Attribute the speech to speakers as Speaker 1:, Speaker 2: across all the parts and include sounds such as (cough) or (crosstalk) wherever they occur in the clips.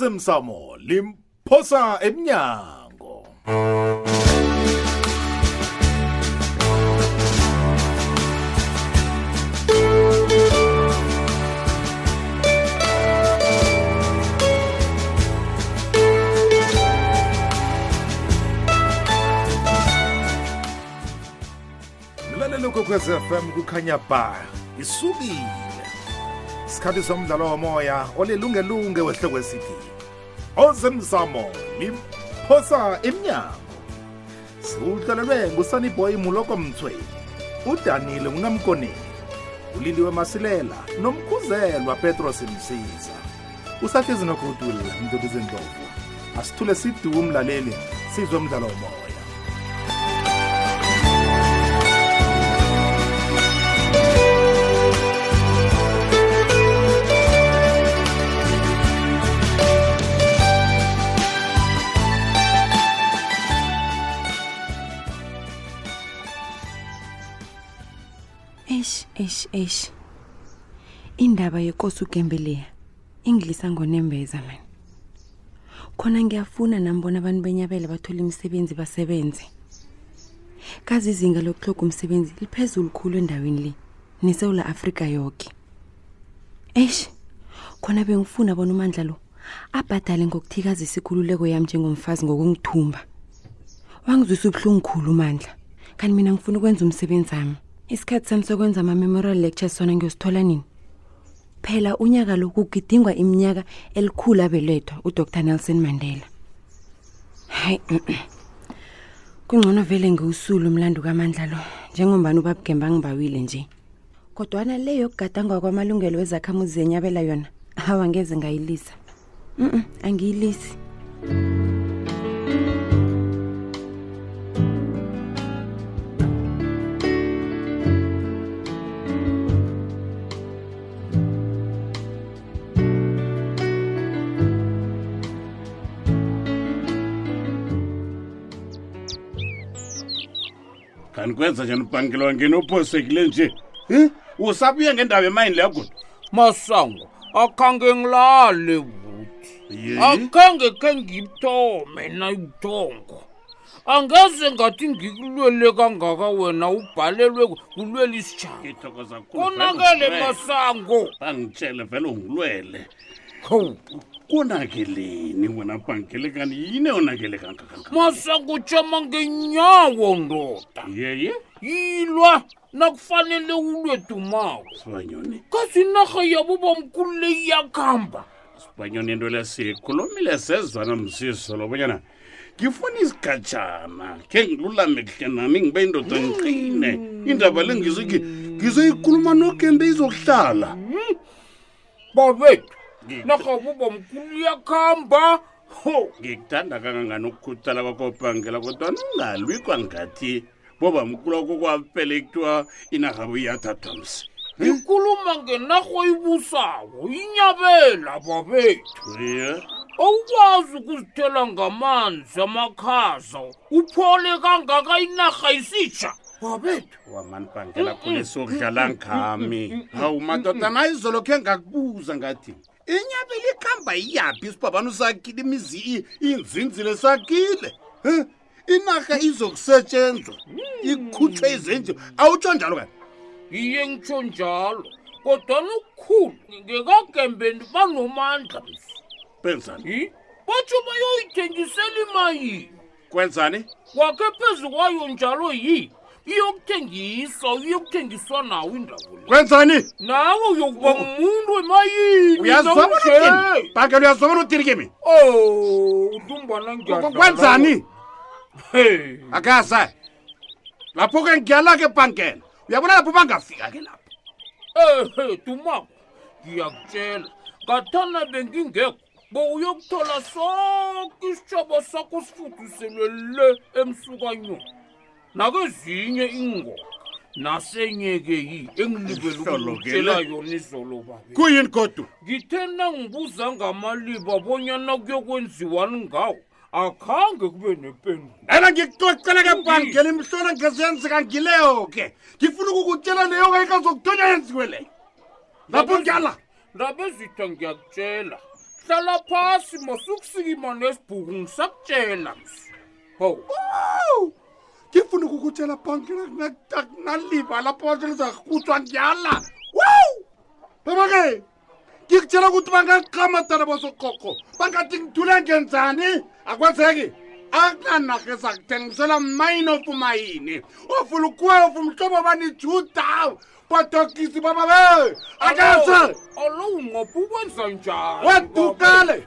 Speaker 1: ozemsamo limphosa emnyango mlalelo kwekwez fm kukhanya ba isukile isikhathi somdlalo womoya olilungelunge wehloko esithi ozemzamo limphosa emnyango siwuhlelelwe ngusaniboy muloko mthweni udanile ngunamkoneni uliliwe masilela nomkhuzelwa petros msiza usahlezi nogodula mntokozendlovu asithule siduwe umlaleli sizwe umdlalo womoya
Speaker 2: eish eish eish indaba yekosi ugembeleya ingilisa ngonembeza mani khona ngiyafuna nami bona abantu benyabele bathole imisebenzi basebenze kazi izinga lokuhloga umsebenzi liphezulu khulu endaweni le nesewula afrika yoke eish khona bengifuna bona umandla lo abhadale ngokuthikazisa ikhululeko yami njengomfazi ngokungithumba wangizwisa ubuhlungu khulu mandla kanti mina ngifuna ukwenza umsebenzi wami isikhathi sami sokwenza ama-memorial lecture sona ngiyosithola nini phela unyaka lo kugidingwa iminyaka elikhulu abelethwa udr nelson mandela hayi (clears throat) kungcono vele ngiwusule umlando kamandla lo njengombani ubabugemba ngibawile nje kodwana le yokugadangwa kwamalungelo ezakhamuzi zenyabela yona hawa ngeze ngayilisa mm -mm, angiyilisi
Speaker 3: kanti kwenza njani ubhankile wangeni ophosekile nje Eh? usabuye ngendaba emayini leyo kodwa
Speaker 4: masango akhange ngilale buthi
Speaker 3: Ye?
Speaker 4: akhange khe ngithome nayibuthongo angeze ngathi ngikulwele kangaka wena ubhalelwe kulwela isitshaba
Speaker 3: ngithokoza khulu
Speaker 4: konakele
Speaker 3: vele ungilwele.
Speaker 4: masango
Speaker 3: bangitshele vele ungilwele
Speaker 4: Hawu,
Speaker 3: konakeleni wena bhankile kanti yini onakele kangakanga
Speaker 4: masango jama ngenyawo ndoda
Speaker 3: yeye
Speaker 4: yilwa nakufanele ulwe dumako
Speaker 3: sibanyoni
Speaker 4: kazinarha yabo bamkhulu le iyakuhamba
Speaker 3: sibanyoni into le sikhulumile sezwana msiso lobonyana ngifuna isigatshana khe ngilulame kuhle nami ngibe indoda ngiqine indaba le ngizoki ngizoyikhuluma nogembe izokuhlala
Speaker 4: babethu narha bo bamkhulu iyakuhamba ho
Speaker 3: ngikuthanda kangangani ukukhuthela kwakobhangela kodwa ningalwi kwangathi boba mkulu wako kwaphele kuthiwa inarhabo iyathathwa msi
Speaker 4: ikhuluma ngenarho ibusawo inyabela babethu
Speaker 3: Iye,
Speaker 4: awukwazi ukuzithela ngamanzi amakhaza uphole kangaka inarha isitsha babethu
Speaker 3: wamani bhangela kulisokudlala ngami hawu madoda naye izolo khe ngakubuza ngathi inyabela ikhamba iyaphi isibabani usakile imizi i- inzinzile sakile Eh, inarha izokusetshenzwa ikhutshwe izenjiwe awutsho njalo kani
Speaker 4: iye ngitsho njalo kodwana ukukhulu ngekagembeni banomandla msi.
Speaker 3: benzani
Speaker 4: Hi? batsho bayoyithengisela imayini
Speaker 3: kwenzani
Speaker 4: wakhe phezu kwayo njalo yi iyokuthengiswa uyokuthengiswa nawo indawo le
Speaker 3: kwenzani
Speaker 4: nawe uyokuba ngumuntu emayini namhlanje.
Speaker 3: uyazobona bhangela uyazobona utiri kimi
Speaker 4: Oh, udumbana
Speaker 3: Kw- kwenzani akaza lapho ke ngiyala ke bhangela uyabona lapho bangafika ke lapho
Speaker 4: ehe dumako ngiyakutshela ngathana bengingekho bowuyokuthola soke isitshaba sakho sifuduselwe le emsukanyoni nakezinye ingoma nasenyekeyi engilibele
Speaker 3: Ihlolokele.
Speaker 4: ukutshela yona izolo babe
Speaker 3: kuyini godu
Speaker 4: ngithe nangibuza ngamaliba bonyana kuyokwenziwani ngawo akhange kube nempendulo
Speaker 3: ena ngikuxoxela ke bhangela imhlola ngezenzeka ngileyo ke ngifuna ukukutshela leyo ke ikazokuthonya yenziwe leyo lapho ngiyala
Speaker 4: ndaba ezitha ngiyakutshela hlala phasi masukusikima nesibhuku ngisakutshela msi hawu
Speaker 3: ngifuna ukukutshela bhanki akunaliva lapho abantu lizakutswa ngiyala wow babake ngikutshela ukuthi bangaqiqamatana bosoqoqo bangathi ngidule ngenzani akwenzeki akunanarha ezakuthengisela mine ofumayini ofuna ukwefu mhlobo banijuda badokisi bababe akase
Speaker 4: alo unqopha ukwenza njani
Speaker 3: wedukale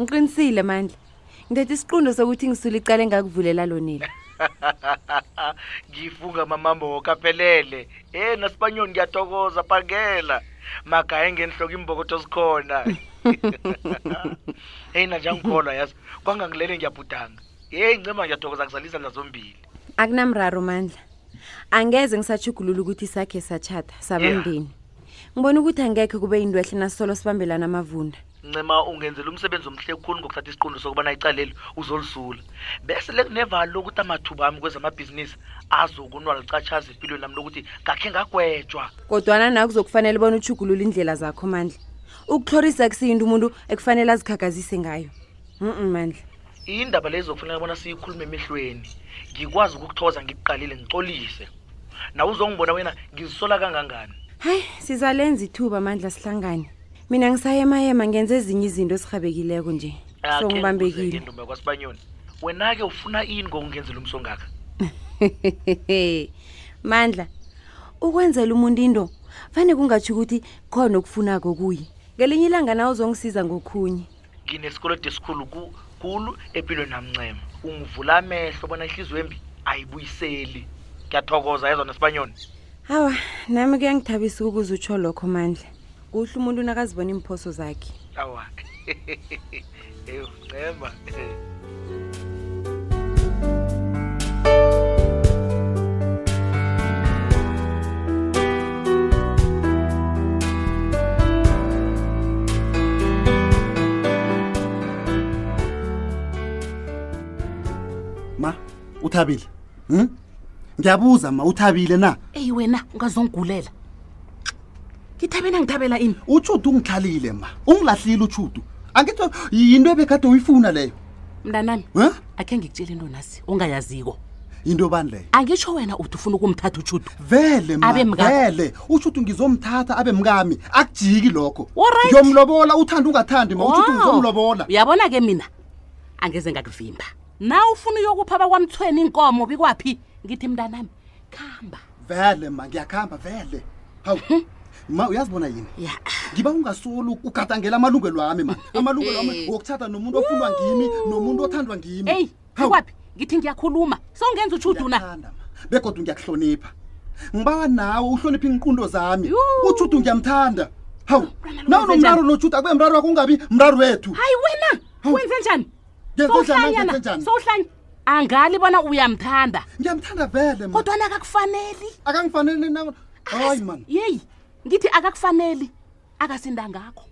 Speaker 2: ngiqinisile mandla ngithetha isiqundo sokuthi ngisule icala engakuvulela lonile
Speaker 5: (laughs) ngifunga mamambo wokaphelele e nasibanyoni ngiyatokoza phangela magaye ngenihloko imbokoto zikhona eyi nanje angikholwa yazi kwangangilele ngiyabhudanga yeyi ncema ngiyatokoza ngizalisa nazombili
Speaker 2: akunamraro mandla angeze ngisajugulula ukuthi sakhe satshata sabamndeni ngibona ukuthi angekhe kube yinto ehle nasisolo sibambelana amavunda
Speaker 5: ncema ungenzela umsebenzi omhle khulu ngokuthatha isiqundo sokubana icaleli uzolisula bese lekunevalo lokuthi amathuba ami kwezamabhizinisi azokunwa licatshaza empilweni lami lokuthi ngakhe ngagwetshwa
Speaker 2: kodwana nawe kuzokufanele bona utshugulula indlela zakho mandla ukutlhorisa kusiyinto umuntu ekufanele azikhagazise ngayo mm mandla
Speaker 5: indaba leyo zokufanele bona siyikhulume emehlweni ngikwazi ukukuthoza ngikuqalile ngicolise nawe uzongibona wena ngizisola kangangani
Speaker 2: hayi sizalenza ithuba mandla sihlangane mina ngisayema-yema ngenze ezinye izinto ezirhabekileko nje
Speaker 5: Akhe ngikuzeke,
Speaker 2: songibambekile
Speaker 5: ntombi yakwasibanyoni wena-ke ufuna ini ngokungenzela umsongaka
Speaker 2: (laughs) mandla ukwenzela umuntu into fane kungatsho ukuthi khona okufunako kuye ngelinye ilanga nawe uzongisiza ngokhunye
Speaker 5: nginesikolodi esikhulu ku- kulu empilweni namncema ungivula amehlo bona ihliziyo embi ayibuyiseli ngiyathokoza yezwa nesibanyoni
Speaker 2: hawa nami kuyangithabisa ukuze utsho lokho mandla kuhle umuntu nakazibona iimphoso zakhe
Speaker 5: awa (laughs) eyo ncema
Speaker 6: ma uthabile hm? ngiyabuza ma uthabile na
Speaker 7: eyi wena ungazongigulela ngithabeni angithabela ini
Speaker 6: utshudu ungihlalile ma ungilahlile utshudu angitho yinto ebekade uyifuna leyo
Speaker 7: mntanami
Speaker 6: Eh?
Speaker 7: akhe ngikutshela into nasi ongayaziko
Speaker 6: yinto bani leyo
Speaker 7: angitsho wena uthi ufuna ukumthatha utshudu
Speaker 6: vele ma,
Speaker 7: Abe mkakho.
Speaker 6: vele utshudu ngizomthatha abe mkami akujiki lokho
Speaker 7: Alright.
Speaker 6: ngiyomlobola uthanda ungathandi ma utshudu
Speaker 7: Wow.
Speaker 6: ngizomlobola
Speaker 7: uyabona-ke mina angeze ngakuvimba na ufuna uyokupha bakwamthweni inkomo bikwaphi ngithi mntanami khamba
Speaker 6: vele ma ngiyakhamba vele hawu ma uyazibona yini
Speaker 7: ya
Speaker 6: ngiba ungasolo ugadangela amalungelo ami ma amalungelo ami wokuthatha nomuntu ofunwa ngimi nomuntu othandwa ngimi
Speaker 7: eyi
Speaker 6: Hawu.
Speaker 7: bikwaphi ngithi ngiyakhuluma sowungenza utshudu na
Speaker 6: Ngiyakuthanda ma. begodwa ngiyakuhlonipha ngibawa nawe uhloniphe iinqundo zami
Speaker 7: Yuu.
Speaker 6: ujuda ngiyamthanda hawu
Speaker 7: Mntwana lo
Speaker 6: nawe
Speaker 7: wenze
Speaker 6: nomraro
Speaker 7: njani?
Speaker 6: nojuda akube mraro wakho ungabi mraro wethu
Speaker 7: hayi wena
Speaker 6: Hawu.
Speaker 7: wenze njani
Speaker 6: Ngenze njani,
Speaker 7: Sowuhlanyana,
Speaker 6: ngenze njani?
Speaker 7: sowuhlanya angali bona uyamthanda
Speaker 6: ngiyamthanda vele ma
Speaker 7: kodwana akakufaneli
Speaker 6: akangifanele na hayi mani
Speaker 7: yeyi ngithi akakufaneli akasinda ngakho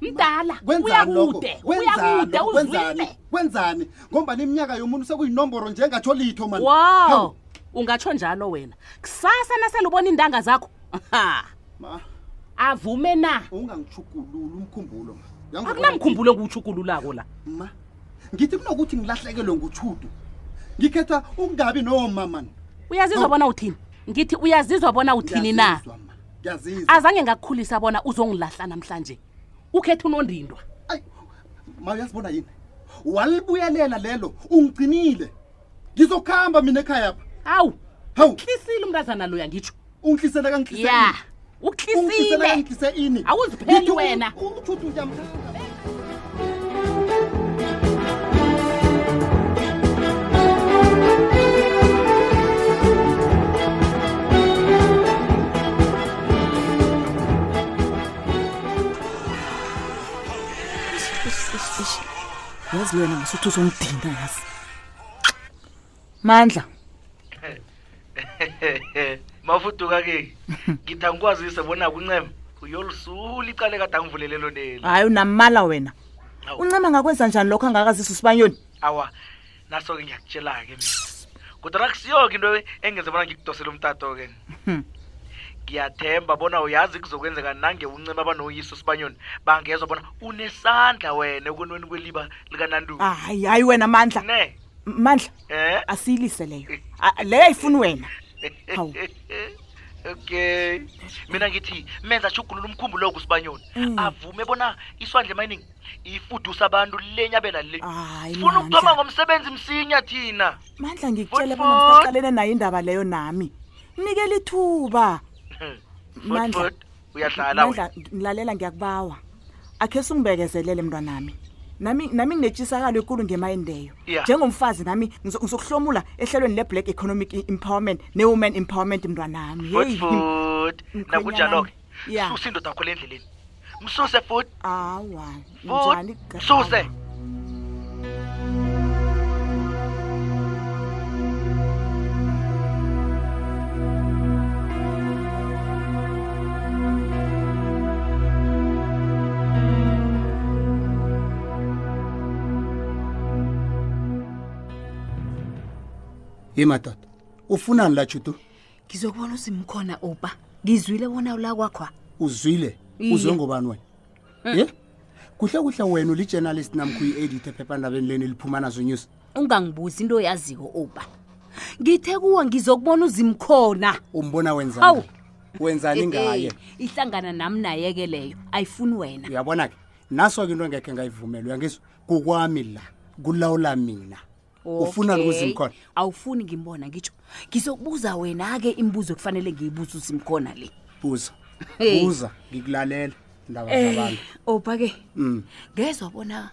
Speaker 7: mdala
Speaker 6: kwenzani lokho
Speaker 7: uyakude
Speaker 6: kwenzani
Speaker 7: uyakude
Speaker 6: lokho?
Speaker 7: uzwile
Speaker 6: kwenzani kwenzani ngombani iminyaka yomuntu sekuyinomboro njengatsho litho mani Hawu,
Speaker 7: wo ungatsho njalo wena kusasa nasele ubona iindanga zakho (laughs) aha,
Speaker 6: ma
Speaker 7: avume na
Speaker 6: ungangijugululi umkhumbulo ma Uyangibona?
Speaker 7: akunamkhumbulo enguwutshukululako la
Speaker 6: ma ngithi kunokuthi ngilahlekelwe ngutshudu ngikhetha ukungabi noma mani
Speaker 7: uyazizwa
Speaker 8: Oh.
Speaker 7: bona uthini ngithi uyazizwa bona uthini na
Speaker 6: Ngiyazizwa, ma. ngiyazizwa
Speaker 7: azange ngakukhulisa bona uzongilahla namhlanje ukhetha unondindwa
Speaker 6: ayi ma uyazibona yini walibuyelela lelo ungigcinile ngizokuhamba mina ekhaya pha
Speaker 7: hawu
Speaker 6: hawu
Speaker 7: hlisile umntazana loya ngitsho
Speaker 6: ungihlisele kangihlisele
Speaker 7: ya
Speaker 6: ini? ungihlisele
Speaker 7: ukuhlisile
Speaker 6: kangihlise ini
Speaker 7: Awuzipheli
Speaker 6: Ngithi u-
Speaker 7: wena.
Speaker 6: u- uJudu ngiyamthanda.
Speaker 8: yazi wena ngasuthi uzongidina yazi mandla
Speaker 5: (laughs) mafuduka-ke ngithi angikwazise bona kuncema uyolisula icale kade angivulelelo neli
Speaker 8: hayi unamala wena
Speaker 5: Awu.
Speaker 8: uncema ngakwenza njani lokho angakazisa usibanyoni
Speaker 5: awa naso-ke ngiyakutshela-ke mina kodwa nakusiyo-ke into engenza bona ngikudosele umtato-ke
Speaker 8: Hmm.
Speaker 5: ngiyathemba bona uyazi kuzokwenzeka nange uncema abanoyiso sibanyoni bangezwa bona unesandla wena ekonweni kweliba likananduku
Speaker 8: hayi hayi wena mandla
Speaker 5: ne
Speaker 8: M- mandla
Speaker 5: eh
Speaker 8: asiyilise leyo A- leyo ayifuni wena
Speaker 5: (laughs)
Speaker 8: Hawu.
Speaker 5: okay mina ngithi menza ashugulula umkhumbulo kusibanyoni
Speaker 8: Mm.
Speaker 5: avume bona iswandle mining ifudusa abantu lenyabela le
Speaker 8: hayi
Speaker 5: funa ukuthoma
Speaker 8: mandla
Speaker 5: ngomsebenzi msinya thina
Speaker 8: mandla ngikutshele
Speaker 5: Futhi
Speaker 8: bona
Speaker 5: futhi.
Speaker 8: ngisaqalene nayo indaba leyo nami nikela ithuba Mandla.
Speaker 5: Fort, Fort, uyadlala wena
Speaker 8: mandla ngilalela ngiyakubawa akhe singibekezelele mntwanami nami nami nginetshisakalo enkulu ngemayini leyo
Speaker 5: Yeah.
Speaker 8: njengomfazi nami ngizo- ngizokuhlomula ehlelweni le-black economic i- empowerment ne-woman empowerment mntwanami
Speaker 5: Fort,
Speaker 8: Hey.
Speaker 5: Fort,
Speaker 8: mkhwenyana.
Speaker 5: nakunjalo-ke
Speaker 8: Yeah.
Speaker 5: susa indoda yakho le endleleni msuse futhi
Speaker 8: awa njani
Speaker 5: futhi
Speaker 8: ga-
Speaker 5: suse
Speaker 6: ye madoda ufunani la judu
Speaker 9: ngizokubona usimkhona opa ngizwile bona ula kwakhwa
Speaker 6: uzwile
Speaker 9: Iye. Eh.
Speaker 6: uzwe ngobani wena ye kuhle kuhle wena ulijournalist namkho uyi-editha ephephandabeni leni liphuma nazo news
Speaker 9: ungangibuzi into oyaziko opa ngithe kuwo ngizokubona uzimkhona
Speaker 6: umbona
Speaker 9: Hawu.
Speaker 6: wenzani wenzani
Speaker 9: Eh,
Speaker 6: ngaye
Speaker 9: eh, ihlangana nami naye-ke leyo ayifuni wena
Speaker 6: uyabona ke naso-ke into engekhe ngayivumela uyangizwa kukwami la kulawula mina ufuna
Speaker 9: Okay.
Speaker 6: ukuzimkhona
Speaker 9: awufuni ngimbona ngitsho ngizokubuza wena-ke imibuzo ekufanele ngiyibuze usimkhona le
Speaker 6: buza
Speaker 9: Hey.
Speaker 6: buza ngikulalela ndaba
Speaker 9: Eh,
Speaker 6: zabantu
Speaker 9: opa-ke
Speaker 6: Mm.
Speaker 9: ngezwa bona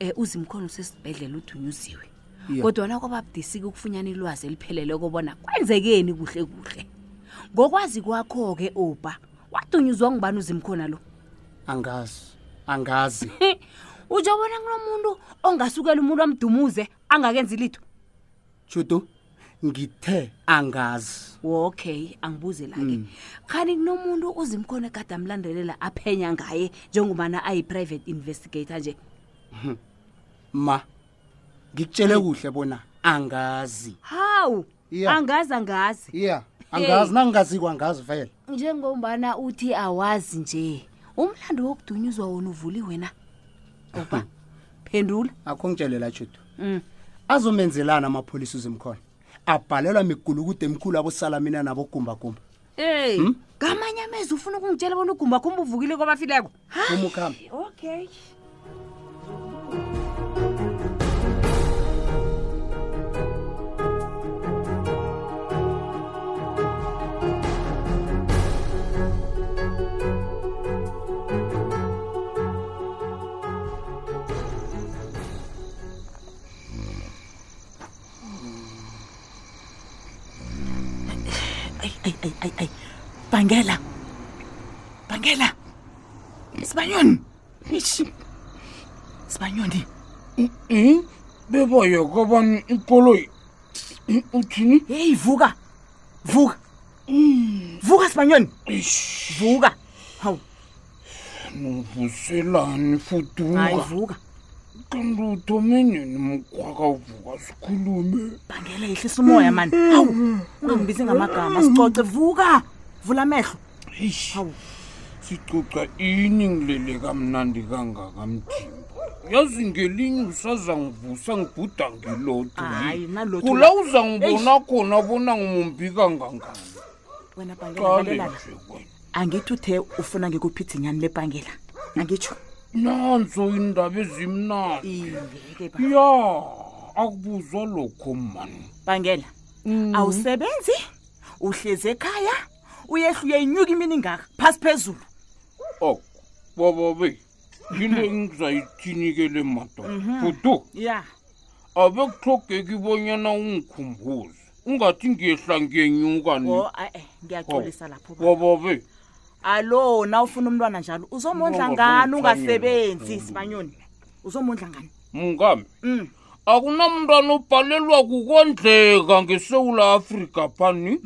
Speaker 9: um uzimkhona usesibhedlela udunyuziwe
Speaker 6: Yeah.
Speaker 9: kodwana kwababudisika ukufunyana ilwazi eliphelele kobona kwenzekeni kuhle kuhle ngokwazi kwakho-ke opa wadunyuzwa ngubani uzimkhona lo
Speaker 6: angazi angazi
Speaker 9: utsho bona kunomuntu ongasukela umuntu amdumuze angakenzi litho
Speaker 6: judu ngithe angazi
Speaker 9: okay angibuze la-ke khani kunomuntu uzimkhona ekade amlandelela aphenya ngaye njengobana ayi-private investigator nje
Speaker 6: ma ngikutshele kuhle bona angazi
Speaker 9: hawu
Speaker 6: Yeah.
Speaker 9: angazi angazi
Speaker 6: iya
Speaker 9: Hey.
Speaker 6: angazi nangingazikwa angazi vele
Speaker 9: njengombana uthi awazi nje umlando wokudunyuzwa wona uvuli wena oba phendula
Speaker 6: akho ngitshelela judu
Speaker 9: Mm.
Speaker 6: azomenzelana amapholisa uzimkhona abhalelwa migulukude emkhulu abosala mina nabogumbagumba
Speaker 9: ey ngamanye amezi ufuna ukungitshela bona ugumbagumba uvukile kwabafileko
Speaker 6: uma ukuhamba
Speaker 9: okay
Speaker 8: Ay, ay, ay, ay, ay. Bangela. Bangela. Sibanyoni. Ish. Sibanyoni.
Speaker 4: Eh? bebaye kabani ikoloyi uthini
Speaker 8: Hey, vuka. Vuka. Mm. Vuka Sibanyoni. Vuka. Hawu,
Speaker 4: uvuselani fuduka
Speaker 8: hayi vuka.
Speaker 4: kanti uthome nini mkwakavuka sikhulume
Speaker 8: Bangela yehlisa umoya man. Hawu, ungangibizi ngamagama sicoce vuka. Vula amehlo.
Speaker 4: eish
Speaker 8: Hawu.
Speaker 4: sicoca ini ngilele kamnandi kangaka mthimba yazi ngelinye usaza ngivusa ngibhuda ngilodwa
Speaker 8: Hayi, nalotho.
Speaker 4: kula uzangibona khona bona ngimumbi kangangani
Speaker 8: Wena Bangela
Speaker 4: qale
Speaker 8: lalela.
Speaker 4: nje kwena
Speaker 8: Angithi uthe ufuna ngikuphithi nyani le Bangela. Angitsho.
Speaker 4: nanso indaba ezimnandi
Speaker 8: Iye ke ba.
Speaker 4: ya akubuzwa lokho mani
Speaker 8: Bangela. Awusebenzi? Uhleze ekhaya? Uyehla uyenyuka imini ingaka phasi phezulu.
Speaker 4: ok bababe into engizayithini-kele
Speaker 8: Mhm.
Speaker 4: madoda fudu
Speaker 8: Yeah.
Speaker 4: abe kuhlogeki bonyana ungikhumbuze ungathi ngiyehla ngiyenyuka ni
Speaker 8: Oh aye ngiyaxolisa lapho. ba.
Speaker 4: bababe
Speaker 8: Allo na ufuna umntwana njalo uzomondla
Speaker 4: Ngibonga
Speaker 8: ngani
Speaker 4: ukuthi
Speaker 8: ungasebenzi
Speaker 4: ukhanyile.
Speaker 8: Sibanyoni? Uzomondla ngani?
Speaker 4: mngami
Speaker 8: Mm.
Speaker 4: akunamntwana obhalelwa kukondleka ngesewula afrika phani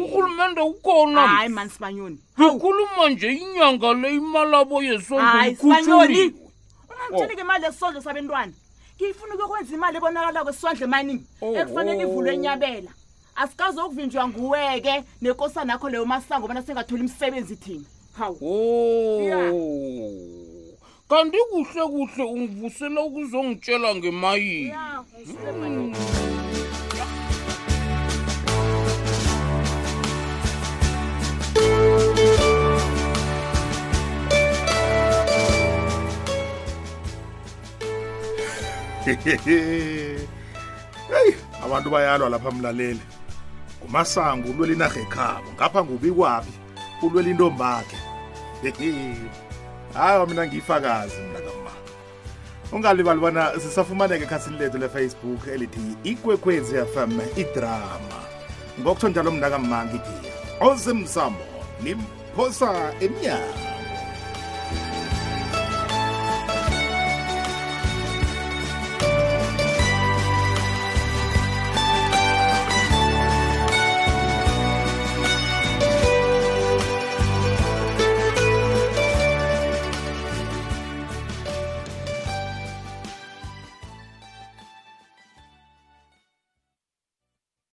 Speaker 4: urhulumente ukhona
Speaker 8: hayi mani sibanyoni
Speaker 4: akhuluma nje inyanga le imalabo yesondlo
Speaker 8: hayi
Speaker 4: ikhutjhuliwe.
Speaker 8: sibanyoni
Speaker 4: Oh.
Speaker 8: ungangitshelike imali yesondlo sabentwana ngiyifuna ukuyokwenza imali ebonakalako esisondlo emaningi
Speaker 4: Oh,
Speaker 8: ekufanele
Speaker 4: oh.
Speaker 8: ivulwe enyabela asikazokuvinjwa nguweke nenkosana akho leyo masango ubana singatholi imisebenzi thina hawu Yeah.
Speaker 4: Oh. kanti kuhle kuhle ungivusela ukuzongitshela ngemayini
Speaker 8: ya ungisile mani
Speaker 1: heyi abantu bayalwa lapha mlaleli ngumasango ulwela inarha ekhabo ngapha ngubikwaphi ulwela intombakhe hayi mina ngiyifakazi mna kama ungalibali bona sisafumaneka ekhasini lethu lefacebook elithi ikwekwezi fm idrama ngokutsho njalo mna kamma ngithi osemsamo nimphosa emnyango